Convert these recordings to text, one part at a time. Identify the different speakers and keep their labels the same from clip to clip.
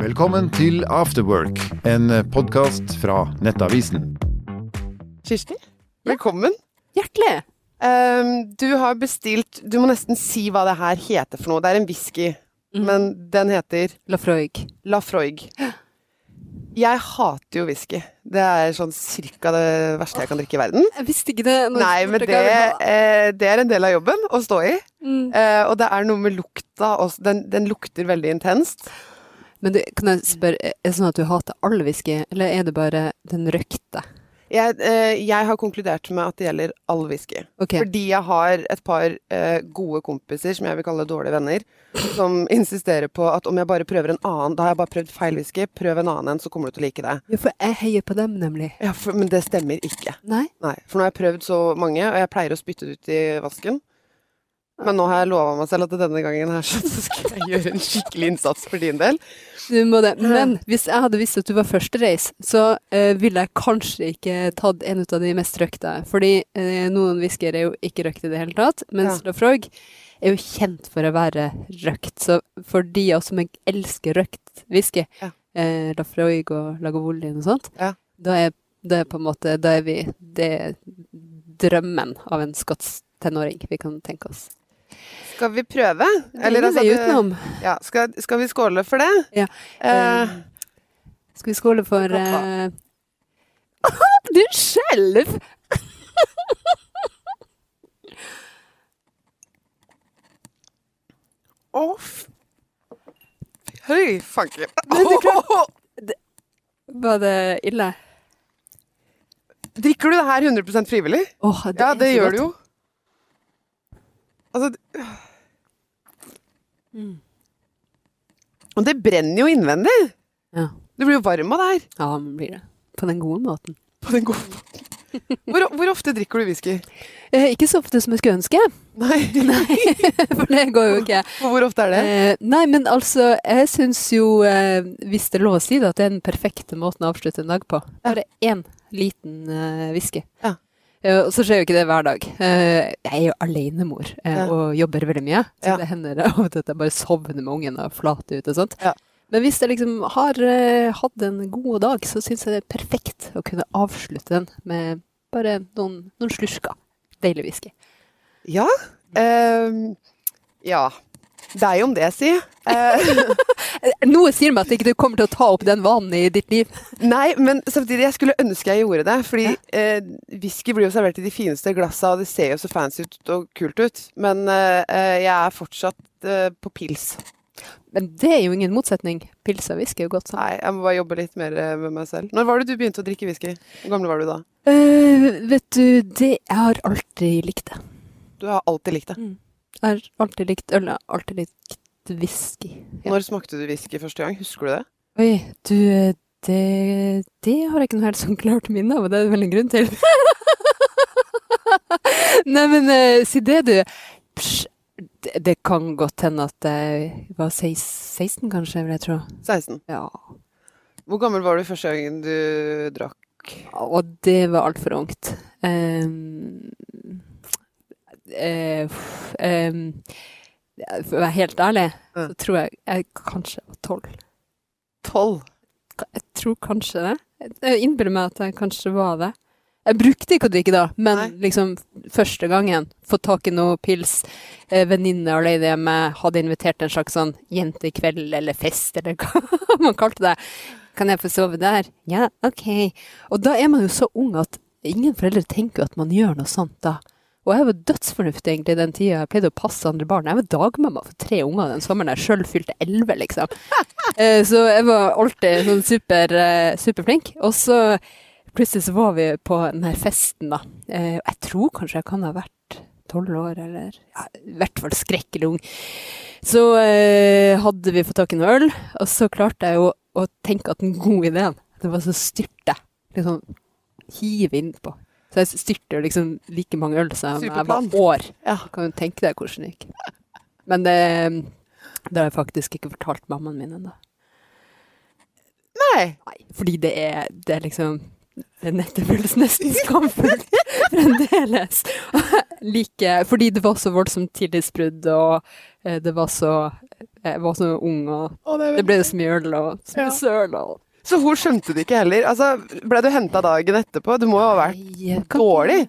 Speaker 1: Velkommen til Afterwork, en podkast fra Nettavisen.
Speaker 2: Kirsti, velkommen.
Speaker 3: Hjertelig!
Speaker 2: Ehm, du har bestilt Du må nesten si hva det her heter for noe. Det er en whisky,
Speaker 3: Mhm.
Speaker 2: men den heter
Speaker 3: Lafroig.
Speaker 2: La Froig. Jeg hater jo whisky. Det er sånn cirka det verste jeg kan drikke i verden.
Speaker 3: Jeg visste ikke det. når-
Speaker 2: Nei, men
Speaker 3: når
Speaker 2: det,
Speaker 3: jeg ville ha det.
Speaker 2: eh, det er en del av jobben å stå i.
Speaker 3: Mm.
Speaker 2: Eh, og det er noe med lukta også. Den, den lukter veldig intenst.
Speaker 3: Men du, kan jeg spørre, er det sånn at du hater all whisky, eller er det bare den røkte?
Speaker 2: Jeg, eh, jeg har konkludert med at det gjelder all whisky.
Speaker 3: Ok,
Speaker 2: Fordi jeg har et par eh, gode kompiser, som jeg vil kalle dårlige venner, som insisterer på at om jeg bare prøver en annen Da har jeg bare prøvd feil whisky, prøv en annen en, så kommer du til å like det.
Speaker 3: ja, for jeg heier på dem nemlig.
Speaker 2: Ja, for, men det stemmer ikke.
Speaker 3: Nei?
Speaker 2: Nei, For nå har jeg prøvd så mange, og jeg pleier å spytte det ut i vasken. Men nå har jeg lova meg selv at denne gangen her så skal jeg gjøre en skikkelig innsats for din del.
Speaker 3: Du må det. Men hvis jeg hadde visst at du var førstereis, så eh, ville jeg kanskje ikke tatt en ut av de mest røkte. Fordi eh, noen whiskyer er jo ikke røkt i det hele tatt, mens Lafroig er jo kjent for å være røkt. Så for de av oss som elsker røkt whisky,
Speaker 2: Ja.
Speaker 3: eh, Lafroig og Lagavulin og sånt,
Speaker 2: Ja.
Speaker 3: da er det er på en måte Da er vi Det er drømmen av en skotsk tenåring vi kan tenke oss.
Speaker 2: Skal vi prøve?
Speaker 3: Eller altså
Speaker 2: det-
Speaker 3: utenom.
Speaker 2: ja, skal, skal vi skåle for det?
Speaker 3: Ja.
Speaker 2: Eh,
Speaker 3: Skal vi skåle for
Speaker 2: Klokka.
Speaker 3: eh... Du skjelv!
Speaker 2: Å, f... Høy fanken.
Speaker 3: Var det ille?
Speaker 2: Drikker du det her 100 frivillig?
Speaker 3: Åh,
Speaker 2: ja,
Speaker 3: er
Speaker 2: det
Speaker 3: så
Speaker 2: gjør
Speaker 3: godt.
Speaker 2: du jo. Altså d-
Speaker 3: Mm.
Speaker 2: Og det brenner jo innvendig.
Speaker 3: Ja.
Speaker 2: Du blir jo varm av det her.
Speaker 3: Ja, men blir det. På den gode måten.
Speaker 2: På den gode måten. Hvor, hvor ofte drikker du whisky?
Speaker 3: Eh, ikke så ofte som jeg skulle ønske,
Speaker 2: Nei.
Speaker 3: for det går jo ikke.
Speaker 2: Hvor ofte er det?
Speaker 3: Eh, nei, men altså, jeg syns jo, eh, hvis det er lov å si det, at det er den perfekte måten å avslutte en dag på. Bare én liten eh, whisky.
Speaker 2: Ja.
Speaker 3: Eh, og så skjer jo ikke det hver dag. Eh, jeg er jo alenemor eh,
Speaker 2: Ja.
Speaker 3: og jobber veldig mye. Så
Speaker 2: Ja.
Speaker 3: det hender av og til at jeg bare sovner med ungen og flater ut og sånt.
Speaker 2: Ja.
Speaker 3: Men hvis jeg liksom har eh, hatt en god dag, så syns jeg det er perfekt å kunne avslutte den med bare noen, noen slursker. Deilig whisky.
Speaker 2: Ja. ehm, ja. Det er jo om det, si. Eh,
Speaker 3: Eh, Noe sier meg at ikke du kommer til å ta opp den vanen i ditt liv.
Speaker 2: nei, men samtidig, jeg skulle ønske jeg gjorde det. Fordi eh, whisky blir jo servert i de fineste glassa, og det ser jo så fancy ut og kult ut. Men eh, eh, jeg er fortsatt eh, på pils.
Speaker 3: Men det er jo ingen motsetning. Pils og whisky er jo godt sånn. sammen.
Speaker 2: Nei, jeg må bare jobbe litt mer eh, med meg selv. Når var det du begynte å drikke whisky? Hvor gammel var du da?
Speaker 3: Eh, vet du, det jeg har alltid likt det.
Speaker 2: Du har alltid likt det.
Speaker 3: Jeg har alltid likt øl, jeg har alltid likt whisky. Ja.
Speaker 2: Når smakte du whisky første gang? Husker du det?
Speaker 3: Oi, du, eh, det, det har jeg ikke noe helt sånn klart minne av, og det er det vel en grunn til. Nei, men eh, si det, du. Psj, det, det kan godt hende at jeg var 16, 16 kanskje, vil jeg tro.
Speaker 2: 16.
Speaker 3: Ja.
Speaker 2: Hvor gammel var du første gangen du drakk?
Speaker 3: Og det var altfor ungt. Ehm, eh, f- ehm, ja, for å være helt ærlig,
Speaker 2: Ja.
Speaker 3: så tror jeg jeg kanskje var tolv.
Speaker 2: 12.
Speaker 3: Ka- Jeg tror kanskje det. Jeg- Jeg innbiller meg at jeg kanskje var det. Jeg brukte ikke å drikke da, men
Speaker 2: Nei.
Speaker 3: liksom første gangen. Få tak i noe pils. eh, Venninne alene hjemme eh, hadde invitert en slags sånn jentekveld eller fest, eller hva man kalte det. Kan jeg få sove der? Ja, ok. Og da er man jo så ung at ingen foreldre tenker jo at man gjør noe sånt da. Og jeg var dødsfornuftig egentlig den tida jeg pleide å passe andre barn. Jeg var dagmamma for tre unger den sommeren jeg sjøl fylte elleve, liksom. Eh, Så jeg var alltid sånn super, eh, superflink. Og så plutselig så var vi på den her festen, da. Eh, og Jeg tror kanskje jeg kan ha vært tolv år, eller ja, i hvert fall skrekkelig ung. Så eh, hadde vi fått tak i noe øl, og så klarte jeg jo å tenke at den gode ideen, det var så styrte. Liksom hive innpå. Så jeg styrte jo liksom like mange øl som jeg var
Speaker 2: Superplan.
Speaker 3: år.
Speaker 2: Ja.
Speaker 3: Du kan jo tenke deg hvordan det gikk. Men det, det har jeg faktisk ikke fortalt mammaen min ennå.
Speaker 2: Nei.
Speaker 3: Nei, fordi det er, det er liksom det er nett- det føles nesten skamfullt fremdeles. Like, fordi det var så voldsomt tillitsbrudd, og eh, det var så Jeg var så ung, og
Speaker 2: Å, det er
Speaker 3: det ble så mye øl og så
Speaker 2: Ja.
Speaker 3: mye søl og
Speaker 2: Så hun skjønte det ikke heller. Altså, ble du henta dagen etterpå? Du må jo ha vært
Speaker 3: Nei, jeg kan-
Speaker 2: dårlig.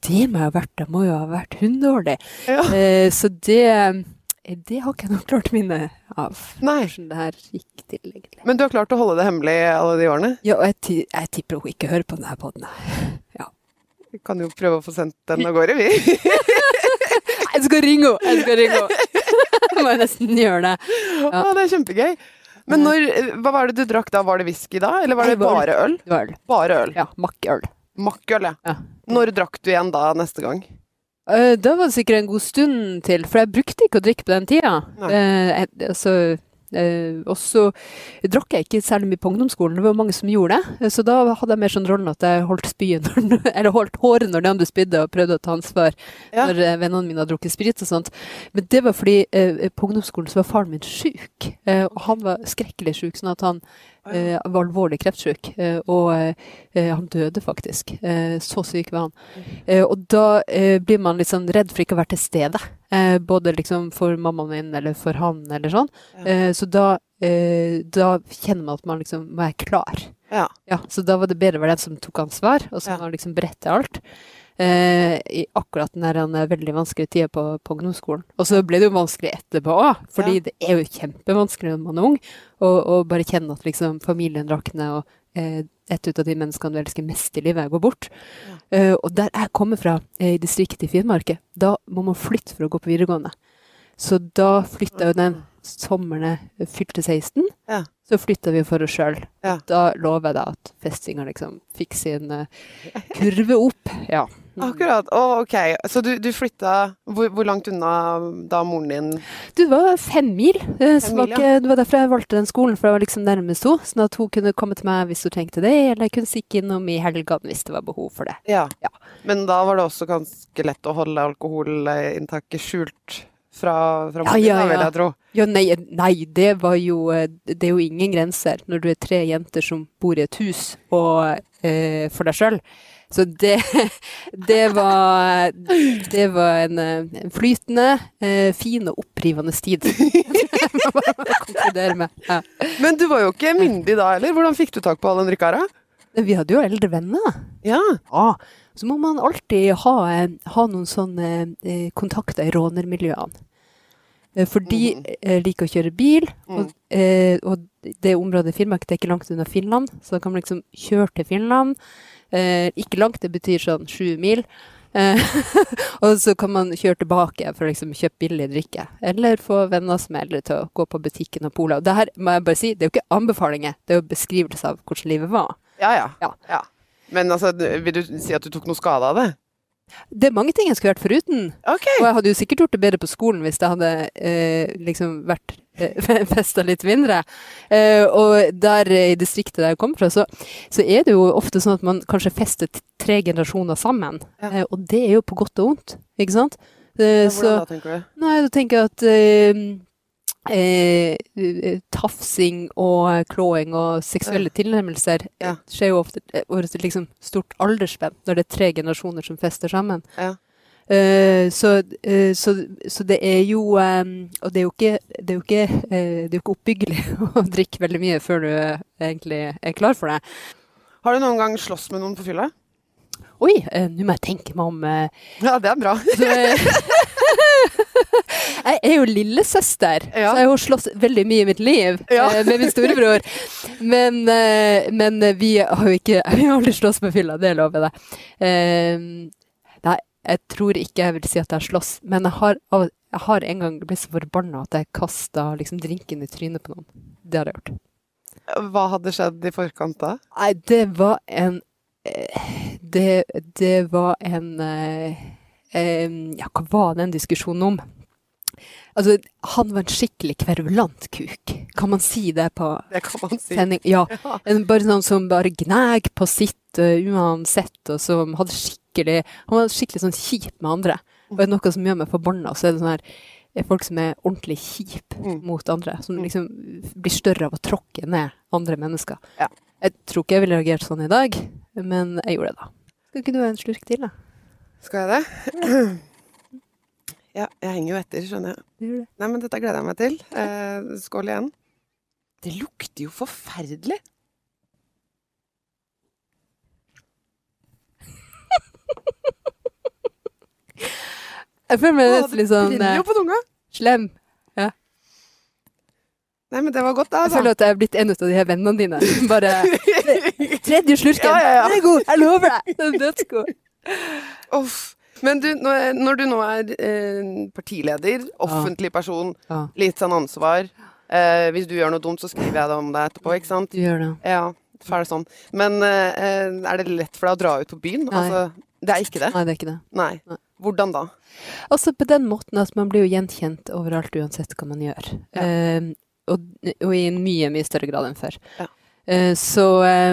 Speaker 3: Det må jeg ha vært. Det må jo ha vært hunddårlig.
Speaker 2: Ja.
Speaker 3: Eh, så det eh, Det har ikke jeg noe klart minne av.
Speaker 2: Nei.
Speaker 3: Hvordan det her gikk til, egentlig.
Speaker 2: Men du har klart å holde det hemmelig alle de årene?
Speaker 3: Ja, og jeg, ti- jeg tipper hun ikke hører på denne poden.
Speaker 2: Vi kan jo prøve å få sendt den av gårde, vi.
Speaker 3: Jeg skal ringe henne! Jeg skal ringe henne! Jeg må nesten gjøre det.
Speaker 2: Å, det er kjempegøy. Men når, hva var det du drakk da? Var det whisky da, eller var det
Speaker 3: Nei, var
Speaker 2: bare øl?
Speaker 3: Det var øl.
Speaker 2: Bare øl.
Speaker 3: Ja, makkøl.
Speaker 2: Makkøl, ja.
Speaker 3: Ja.
Speaker 2: Når drakk du igjen da neste gang?
Speaker 3: Eh, Da var det sikkert en god stund til, for jeg brukte ikke å drikke på den tida.
Speaker 2: Nei.
Speaker 3: Eh, jeg- altså, eh, og så drakk jeg ikke særlig mye på ungdomsskolen, det var mange som gjorde det. Eh, Så da hadde jeg mer sånn rollen at jeg holdt, spyet når, eller holdt håret når de andre spydde, og prøvde å ta ansvar
Speaker 2: Ja.
Speaker 3: når eh, vennene mine hadde drukket sprit og sånt. Men det var fordi eh, på ungdomsskolen så var faren min sjuk, eh, og han var skrekkelig sjuk, sånn at han eh, var alvorlig kreftsjuk. Eh, og eh, eh, han døde faktisk. Eh, så syk var han. Eh, og da eh, blir man litt sånn redd for ikke å være til stede. Eh, både liksom for mammaen min eller for han eller sånn.
Speaker 2: Ja.
Speaker 3: Eh, så da, eh, da kjenner man at man liksom må være klar.
Speaker 2: Ja.
Speaker 3: Ja, så da var det bedre å være den som tok ansvar, og som
Speaker 2: Ja.
Speaker 3: har liksom beredt til alt. Eh, I akkurat den der eh, veldig vanskelige tida på, på ungdomsskolen. Og så ble det jo vanskelig etterpå òg, fordi
Speaker 2: Ja.
Speaker 3: det er jo kjempevanskelig når man er ung, å å bare kjenne at liksom familien rakner, og eh, et ut av de menneskene du elsker mest i livet, går bort. Eh, og der jeg kommer fra, eh, i distriktet i Finnmarket, da må man flytte for å gå på videregående. Så da
Speaker 2: Mm.
Speaker 3: flytta jo den sommeren jeg fylte 16,
Speaker 2: Ja.
Speaker 3: så flytta vi for oss sjøl.
Speaker 2: Ja.
Speaker 3: Da lover jeg deg at festinga liksom fikk sin eh, kurve opp. Ja.
Speaker 2: Akkurat. Å, ok. Så du, du flytta hvor, hvor langt unna da moren din
Speaker 3: Du, det var fem mil. eh, så
Speaker 2: Fem
Speaker 3: var
Speaker 2: mil,
Speaker 3: ikke, det var derfor jeg valgte den skolen, for jeg var liksom nærmest henne. Sånn at hun kunne komme til meg hvis hun trengte det, eller jeg kunne stikke innom i helgene hvis det var behov for det.
Speaker 2: ja.
Speaker 3: Ja.
Speaker 2: Men da var det også ganske lett å holde alkoholinntaket skjult fra, fra
Speaker 3: Ja,
Speaker 2: moren din,
Speaker 3: ja,
Speaker 2: da, vil
Speaker 3: ja.
Speaker 2: jeg tro.
Speaker 3: Ja, nei, nei det, var jo, eh, det er jo ingen grenser når du er tre jenter som bor i et hus og eh, for deg sjøl. Så det, det var Det var en, eh, en flytende, eh, fin og opprivende tid. Det må jeg bare konkludere med. Ja.
Speaker 2: Men du var jo ikke myndig da heller. Hvordan fikk du tak på all den drikka? da?
Speaker 3: Men vi hadde jo eldre venner.
Speaker 2: Ja.
Speaker 3: Ja, Ah, så må man alltid ha, eh, ha noen sånne eh, kontakter i rånermiljøene. Eh, For de eh, liker å kjøre bil, og, eh, og det området i Finnmark det er ikke langt unna Finland, så da kan man liksom kjøre til Finland. Eh, ikke langt, det betyr sånn sju mil. Eh, og så kan man kjøre tilbake for å liksom kjøpe billig drikke. Eller få venner som er eldre til å gå på butikken og polet. Og det her må jeg bare si, det er jo ikke anbefalinger, det er jo beskrivelse av hvordan livet var.
Speaker 2: Ja, ja.
Speaker 3: Ja.
Speaker 2: Ja. Men altså, vil du si at du tok noe skade av det?
Speaker 3: Det er mange ting jeg skulle vært foruten.
Speaker 2: Ok.
Speaker 3: Og jeg hadde jo sikkert gjort det bedre på skolen hvis jeg hadde eh, liksom vært eh, festa litt mindre. Eh, og der eh, i distriktet der jeg kommer fra, så, så er det jo ofte sånn at man kanskje fester t- tre generasjoner sammen.
Speaker 2: Ja.
Speaker 3: Eh, og det er jo på godt og vondt, ikke sant? Eh, så
Speaker 2: Hvordan da, tenker du?
Speaker 3: nei, da tenker jeg at eh, Eh, eh, tafsing og klåing og seksuelle tilnærmelser eh,
Speaker 2: Ja.
Speaker 3: skjer jo ofte eh, over et liksom, stort aldersspenn når det er tre generasjoner som fester sammen.
Speaker 2: Ja.
Speaker 3: Eh, så, eh, så, så det er jo eh, Og det er jo ikke, det er jo ikke, eh, det er jo ikke oppbyggelig å drikke veldig mye før du eh, egentlig er klar for det.
Speaker 2: Har du noen gang slåss med noen på fylla?
Speaker 3: Oi, eh, nå må jeg tenke meg om. eh,
Speaker 2: Ja, det er bra.
Speaker 3: så, eh, jeg er jo lillesøster,
Speaker 2: Ja.
Speaker 3: så jeg har jo slåss veldig mye i mitt liv
Speaker 2: Ja.
Speaker 3: eh, med min storebror. Men, eh, men vi har jo ikke Vi har aldri slåss med fylla, det lover jeg deg. Eh, nei, jeg tror ikke jeg vil si at jeg har slåss, men jeg har, av- jeg har en gang blitt så forbanna at jeg kasta liksom, drinken i trynet på noen. Det har jeg gjort.
Speaker 2: Hva hadde skjedd i forkant da?
Speaker 3: Nei, det var en eh, Det, det var en eh, em, Ja, hva var den diskusjonen om? Altså, han var en skikkelig kverulant kuk. Kan man si det på
Speaker 2: Det kan man si.
Speaker 3: sending? Ja.
Speaker 2: Ja.
Speaker 3: En, bare sånn som bare gnag på sitt eh, uansett, og som hadde skikkelig Han var skikkelig sånn kjip med andre.
Speaker 2: Mm.
Speaker 3: Og er det noe som gjør meg forbanna, så er det sånn her eh, folk som er ordentlig kjipe
Speaker 2: Mm.
Speaker 3: mot andre. Som
Speaker 2: Mm.
Speaker 3: liksom blir større av å tråkke ned andre mennesker.
Speaker 2: Ja.
Speaker 3: Jeg tror ikke jeg ville reagert sånn i dag, men jeg gjorde det da. Skal ikke du ha en slurk til, da?
Speaker 2: Skal jeg det? Ja, jeg henger jo etter, skjønner jeg.
Speaker 3: Du gjør det.
Speaker 2: Nei, men dette gleder jeg meg til. Eh, skål igjen. Det lukter jo forferdelig.
Speaker 3: Jeg føler meg
Speaker 2: Å,
Speaker 3: nesten litt sånn
Speaker 2: brenner
Speaker 3: eh,
Speaker 2: jo på tunga.
Speaker 3: slem.
Speaker 2: Nei, men det var godt, da.
Speaker 3: Jeg føler at jeg er blitt en ut av de her vennene dine. Bare tredje slurken.
Speaker 2: Ja, ja, ja.
Speaker 3: Den er god, jeg lover deg. Den er dødsgod.
Speaker 2: Uff. Men du, når, når du nå er eh, partileder, offentlig person,
Speaker 3: Ja.
Speaker 2: litt sånn ansvar eh, Hvis du gjør noe dumt, så skriver jeg det om deg etterpå, ikke sant?
Speaker 3: Du gjør det.
Speaker 2: Ja, ferdig sånn. Men eh, eh, er det lett for deg å dra ut på byen?
Speaker 3: Nei.
Speaker 2: Altså, det er ikke det?
Speaker 3: Nei, det er ikke det.
Speaker 2: Nei.
Speaker 3: Nei.
Speaker 2: Hvordan da?
Speaker 3: Altså på den måten at man blir jo gjenkjent overalt uansett hva man gjør.
Speaker 2: Ja.
Speaker 3: Eh, og, og i en mye, mye større grad enn før.
Speaker 2: Ja.
Speaker 3: Eh, så, eh,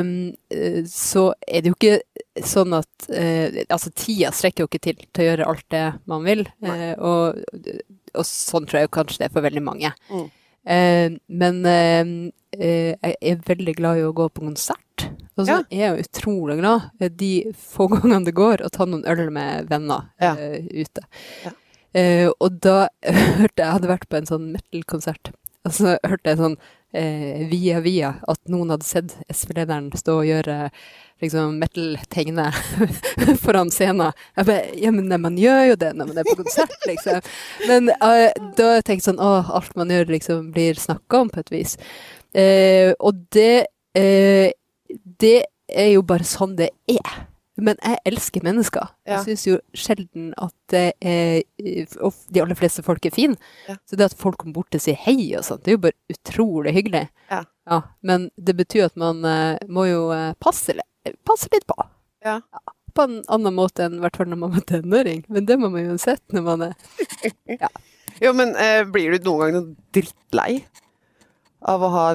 Speaker 3: eh, så er det jo ikke sånn at eh, Altså, tida strekker jo ikke til til å gjøre alt det man vil.
Speaker 2: Nei.
Speaker 3: eh, og, og sånn tror jeg jo kanskje det er for veldig mange.
Speaker 2: Mm.
Speaker 3: Eh, men eh, eh, jeg er veldig glad i å gå på konsert. Og så
Speaker 2: Ja.
Speaker 3: er jeg jo utrolig glad eh, de få gangene det går, å ta noen øl med venner
Speaker 2: Ja.
Speaker 3: eh, ute.
Speaker 2: Ja.
Speaker 3: Eh, og da hørte jeg Jeg hadde vært på en sånn metal-konsert. Og så hørte jeg sånn eh, via via at noen hadde sett SV-lederen stå og gjøre liksom metal-tegne foran scenen. Jeg bare Ja, men nei, man gjør jo det når man er på konsert, liksom. Men eh, da tenkte jeg sånn Å, alt man gjør, liksom blir snakka om på et vis. Eh, og det eh, Det er jo bare sånn det er. Men jeg elsker mennesker.
Speaker 2: Ja.
Speaker 3: Jeg syns jo sjelden at det er eh, Og de aller fleste folk er fine.
Speaker 2: Ja.
Speaker 3: Så det at folk kommer bort og sier hei og sånt, det er jo bare utrolig hyggelig.
Speaker 2: Ja.
Speaker 3: men det betyr at man eh, må jo eh, passe, li- passe litt på.
Speaker 2: Ja.
Speaker 3: På en annen måte enn i hvert fall når man var tenåring. Men det må man jo uansett når man er
Speaker 2: Jo, men eh, blir du noen gang noe drittlei av å ha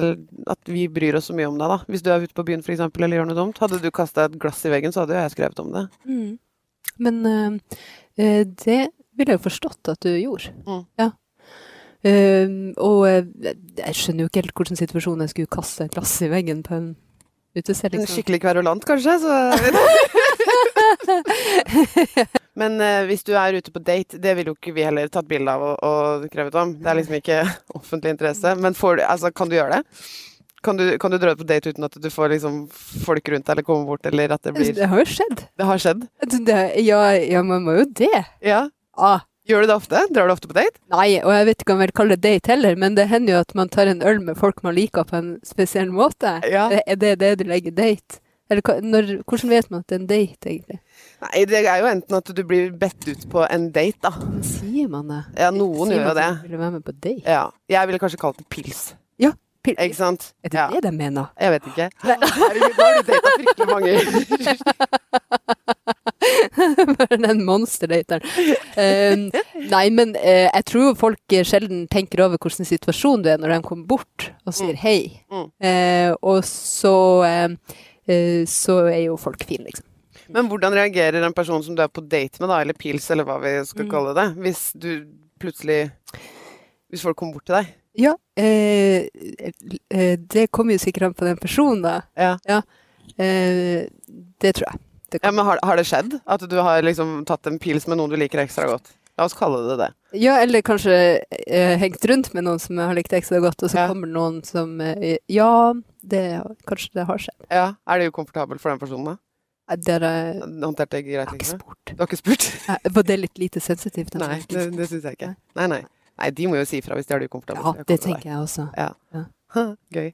Speaker 2: at vi bryr oss så mye om deg, da? Hvis du er ute på byen for eksempel, eller gjør noe dumt. Hadde du kasta et glass i veggen, så hadde jo jeg skrevet om det.
Speaker 3: Mm. Men eh, eh, det ville jeg jo forstått at du gjorde.
Speaker 2: Mm.
Speaker 3: Ja. Eh, og eh, jeg skjønner jo ikke helt hvordan situasjonen jeg skulle kaste et glass i veggen på en utested.
Speaker 2: En
Speaker 3: Liksom.
Speaker 2: skikkelig kverulant, kanskje? Så... Men eh, hvis du er ute på date, det ville jo ikke vi heller tatt bilde av og, og krevet om. Det er liksom ikke offentlig interesse. Men får du, altså, kan du gjøre det? Kan du, kan du dra ut på date uten at du får liksom, folk rundt deg eller kommer bort, eller at det blir
Speaker 3: Det har jo skjedd. Altså,
Speaker 2: Det har skjedd?
Speaker 3: Det, ja, ja, man må jo det.
Speaker 2: Ja.
Speaker 3: Ah,
Speaker 2: Gjør du det ofte? Drar du ofte på date?
Speaker 3: nei, og jeg vet ikke om jeg vil kalle det date heller, men det hender jo at man tar en øl med folk man liker på en spesiell måte.
Speaker 2: Ja.
Speaker 3: Er det det du legger date? Eller hva- når, hvordan vet man at det er en date, egentlig?
Speaker 2: Nei, det er jo enten at du blir bedt ut på en date, da.
Speaker 3: Men sier man det?
Speaker 2: Ja, noen
Speaker 3: sier
Speaker 2: gjør jo
Speaker 3: man
Speaker 2: det.
Speaker 3: at man Vil være med på date?
Speaker 2: Ja. Jeg ville kanskje kalt det pils.
Speaker 3: Pil-
Speaker 2: Ikke sant?
Speaker 3: Er det
Speaker 2: Ja.
Speaker 3: det de mener?
Speaker 2: Jeg vet ikke. Herregud, nå har du data fryktelig mange.
Speaker 3: Den monsterdateren. Um, nei, men eh, jeg tror jo folk eh, sjelden tenker over hvordan situasjon du er når de kommer bort og sier hei.
Speaker 2: Mm.
Speaker 3: Eh, og så eh, eh, så er jo folk fine, liksom.
Speaker 2: Men hvordan reagerer en person som du er på date med, da, eller pils, eller hva vi
Speaker 3: Mm.
Speaker 2: skal kalle det, hvis du plutselig Hvis folk kommer bort til deg?
Speaker 3: Ja, eh, eh, det kommer jo sikkert an på den personen, da.
Speaker 2: Ja.
Speaker 3: Eh, det tror jeg. Det
Speaker 2: ja
Speaker 3: kan-
Speaker 2: men har, har det skjedd? At du har liksom tatt en pils med noen du liker ekstra godt? La oss kalle det det.
Speaker 3: Ja, eller kanskje eh, hengt rundt med noen som jeg har likt ekstra godt, og så
Speaker 2: Ja.
Speaker 3: kommer det noen som eh, Ja, det, kanskje det har skjedd.
Speaker 2: Ja, Er det ukomfortabelt for den personen, da?
Speaker 3: Eh, Det har jeg
Speaker 2: Håndterte jeg
Speaker 3: Jeg
Speaker 2: greit?
Speaker 3: har ikke
Speaker 2: Liksom?
Speaker 3: spurt.
Speaker 2: Du har ikke spurt?
Speaker 3: Nei, Var det litt lite sensitivt? altså?
Speaker 2: Nei, det, det syns jeg ikke. Nei, nei. Nei, De må jo si ifra hvis de har det ukomfortabelt.
Speaker 3: Ja, det tenker jeg også.
Speaker 2: Gøy.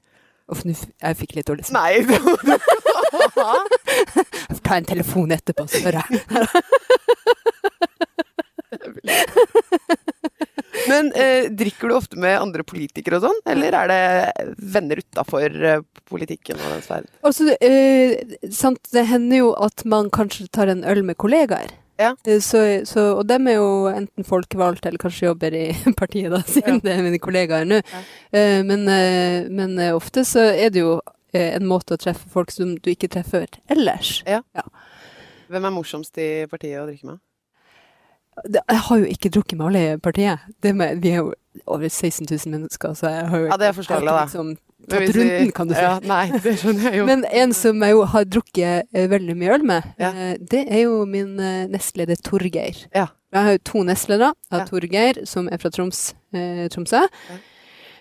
Speaker 3: Uff, nå f- jeg fikk litt dårlig smak.
Speaker 2: Nei, det må du ikke
Speaker 3: Jeg får ta en telefon etterpå og spørre.
Speaker 2: Men eh, drikker du ofte med andre politikere og sånn, eller er det venner utafor eh, politikken og den sfæren?
Speaker 3: Altså, eh, sant, det hender jo at man kanskje tar en øl med kollegaer.
Speaker 2: Ja.
Speaker 3: Eh, Så, så, og dem er jo enten folkevalgte eller kanskje jobber i partiet, da, siden det er mine kollegaer nå. Eh, men, eh, men eh, ofte så er det jo eh, en måte å treffe folk som du ikke treffer ellers.
Speaker 2: Hvem er morsomst i partiet å drikke med?
Speaker 3: Det, jeg har jo ikke drukket med alle i partiet. Det med, vi er jo over 16 000 mennesker, så jeg har jo
Speaker 2: Ja, det er
Speaker 3: jeg har
Speaker 2: forståelig,
Speaker 3: ikke
Speaker 2: da.
Speaker 3: liksom
Speaker 2: Men hvis
Speaker 3: tatt
Speaker 2: vi-
Speaker 3: runden, kan du si.
Speaker 2: Ja, nei, det skjønner jeg jo.
Speaker 3: Men en som jeg jo har drukket eh, veldig mye øl med,
Speaker 2: Ja.
Speaker 3: eh, det er jo min eh, nestleder Torgeir.
Speaker 2: Ja.
Speaker 3: Jeg har jo to nestledere. Jeg har
Speaker 2: Ja.
Speaker 3: Torgeir, som er fra Troms, eh, Tromsø.
Speaker 2: Ja.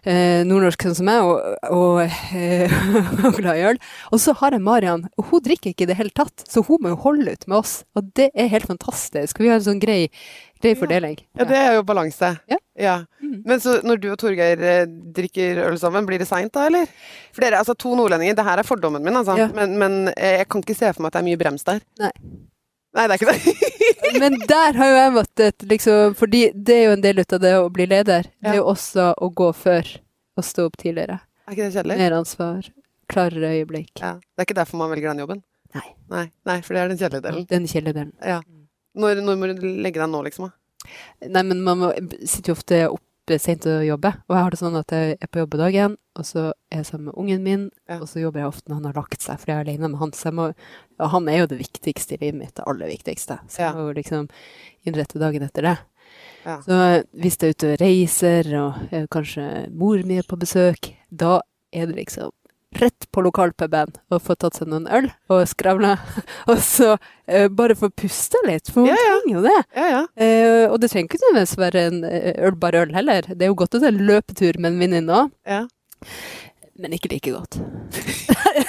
Speaker 3: Eh, nordnorsk sånn som meg, og, og, eh, og glad i øl. Og så har jeg Marian, og hun drikker ikke i det hele tatt, så hun må jo holde ut med oss. Og det er helt fantastisk. Vi har en sånn grei, grei fordeling.
Speaker 2: Ja, det er jo balanse.
Speaker 3: Ja. Mm.
Speaker 2: Men så når du og Torgeir eh, drikker øl sammen, blir det seint da, eller? For dere, altså to nordlendinger, det her er fordommen min, altså.
Speaker 3: Ja.
Speaker 2: Men, men eh, jeg kan ikke se for meg at det er mye brems der.
Speaker 3: Nei.
Speaker 2: Nei, det er ikke det.
Speaker 3: Men der har jo jeg måttet liksom Fordi det er jo en del ut av det å bli leder. Det er jo også å gå før og stå opp tidligere.
Speaker 2: Er ikke det kjedelig?
Speaker 3: Mer ansvar. Klarere øyeblikk.
Speaker 2: Ja. Det er ikke derfor man velger den jobben.
Speaker 3: Nei.
Speaker 2: Nei, nei for det er den kjedelige delen.
Speaker 3: Den kjeledelen.
Speaker 2: Ja. Når, når må du legge deg nå, liksom? da?
Speaker 3: Nei, men man må, sitter jo ofte oppe sent og jobber. Og jeg har det sånn at jeg er på jobb på dagen, og så er jeg sammen med ungen min,
Speaker 2: Ja.
Speaker 3: og så jobber jeg ofte når han har lagt seg, for jeg er alene med han. Så jeg må, og han er jo det viktigste i livet mitt, det aller viktigste. Så
Speaker 2: Ja.
Speaker 3: jeg må jo liksom innrette dagen etter det.
Speaker 2: Ja.
Speaker 3: Så hvis jeg er ute og reiser, og eh, kanskje mor mi er på besøk, da er det liksom rett på lokalpuben og få tatt seg noen øl og skravle. Og så eh, bare få puste litt, for man
Speaker 2: Ja, ja.
Speaker 3: trenger jo det.
Speaker 2: Ja, ja.
Speaker 3: Eh, og det trenger ikke nødvendigvis være en eh, øl, bare øl heller. Det er jo godt å ta en løpetur med en venninne òg,
Speaker 2: ja.
Speaker 3: men ikke like godt. Nei,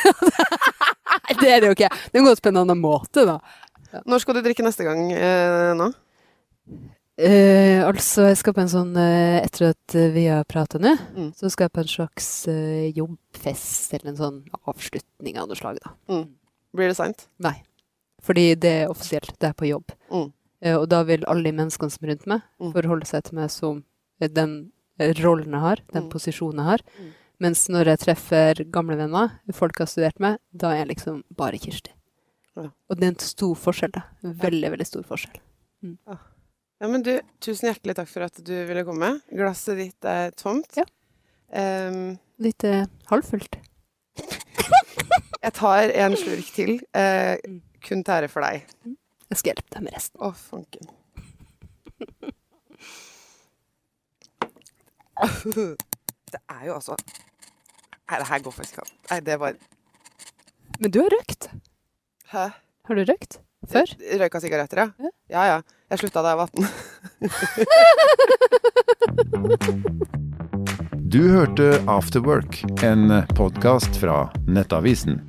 Speaker 3: det er det jo ikke. Det er jo godt på en annen måte, da.
Speaker 2: Når skal du drikke neste gang eh, nå?
Speaker 3: Eh, altså, jeg skal på en sånn eh, Etter at eh, vi har prata nå,
Speaker 2: Mm.
Speaker 3: så skal jeg på en slags eh, jobbfest eller en sånn avslutning av noe slag, da.
Speaker 2: Blir det seint?
Speaker 3: Fordi det er offisielt, det er på jobb.
Speaker 2: Mm.
Speaker 3: Eh, og da vil alle de menneskene som er rundt meg,
Speaker 2: Mm.
Speaker 3: forholde seg til meg som eh, den eh, rollen jeg har, den
Speaker 2: Mm.
Speaker 3: posisjonen jeg har.
Speaker 2: Mm.
Speaker 3: Mens når jeg treffer gamle venner, folk jeg har studert med, da er jeg liksom bare Kirsti.
Speaker 2: Ja.
Speaker 3: Og det er en stor forskjell, da. Veldig, veldig stor forskjell.
Speaker 2: Ja, men du, tusen hjertelig takk for at du ville komme. Glasset ditt er tomt.
Speaker 3: Ja.
Speaker 2: Ehm,
Speaker 3: Litt eh, halvfullt.
Speaker 2: jeg tar en slurk til. eh,
Speaker 3: Mm.
Speaker 2: kun til ære for deg.
Speaker 3: Jeg skal hjelpe deg med resten.
Speaker 2: Å, fanken. Det er jo altså Nei, det her går faktisk ikke an. Nei, det var
Speaker 3: Men du har røykt.
Speaker 2: Hæ?
Speaker 3: Har du røykt? Før?
Speaker 2: Røyka sigaretter, ja?
Speaker 3: Ja.
Speaker 2: Ja ja. Jeg slutta da jeg var 18.
Speaker 1: Du hørte Afterwork, en podkast fra Nettavisen.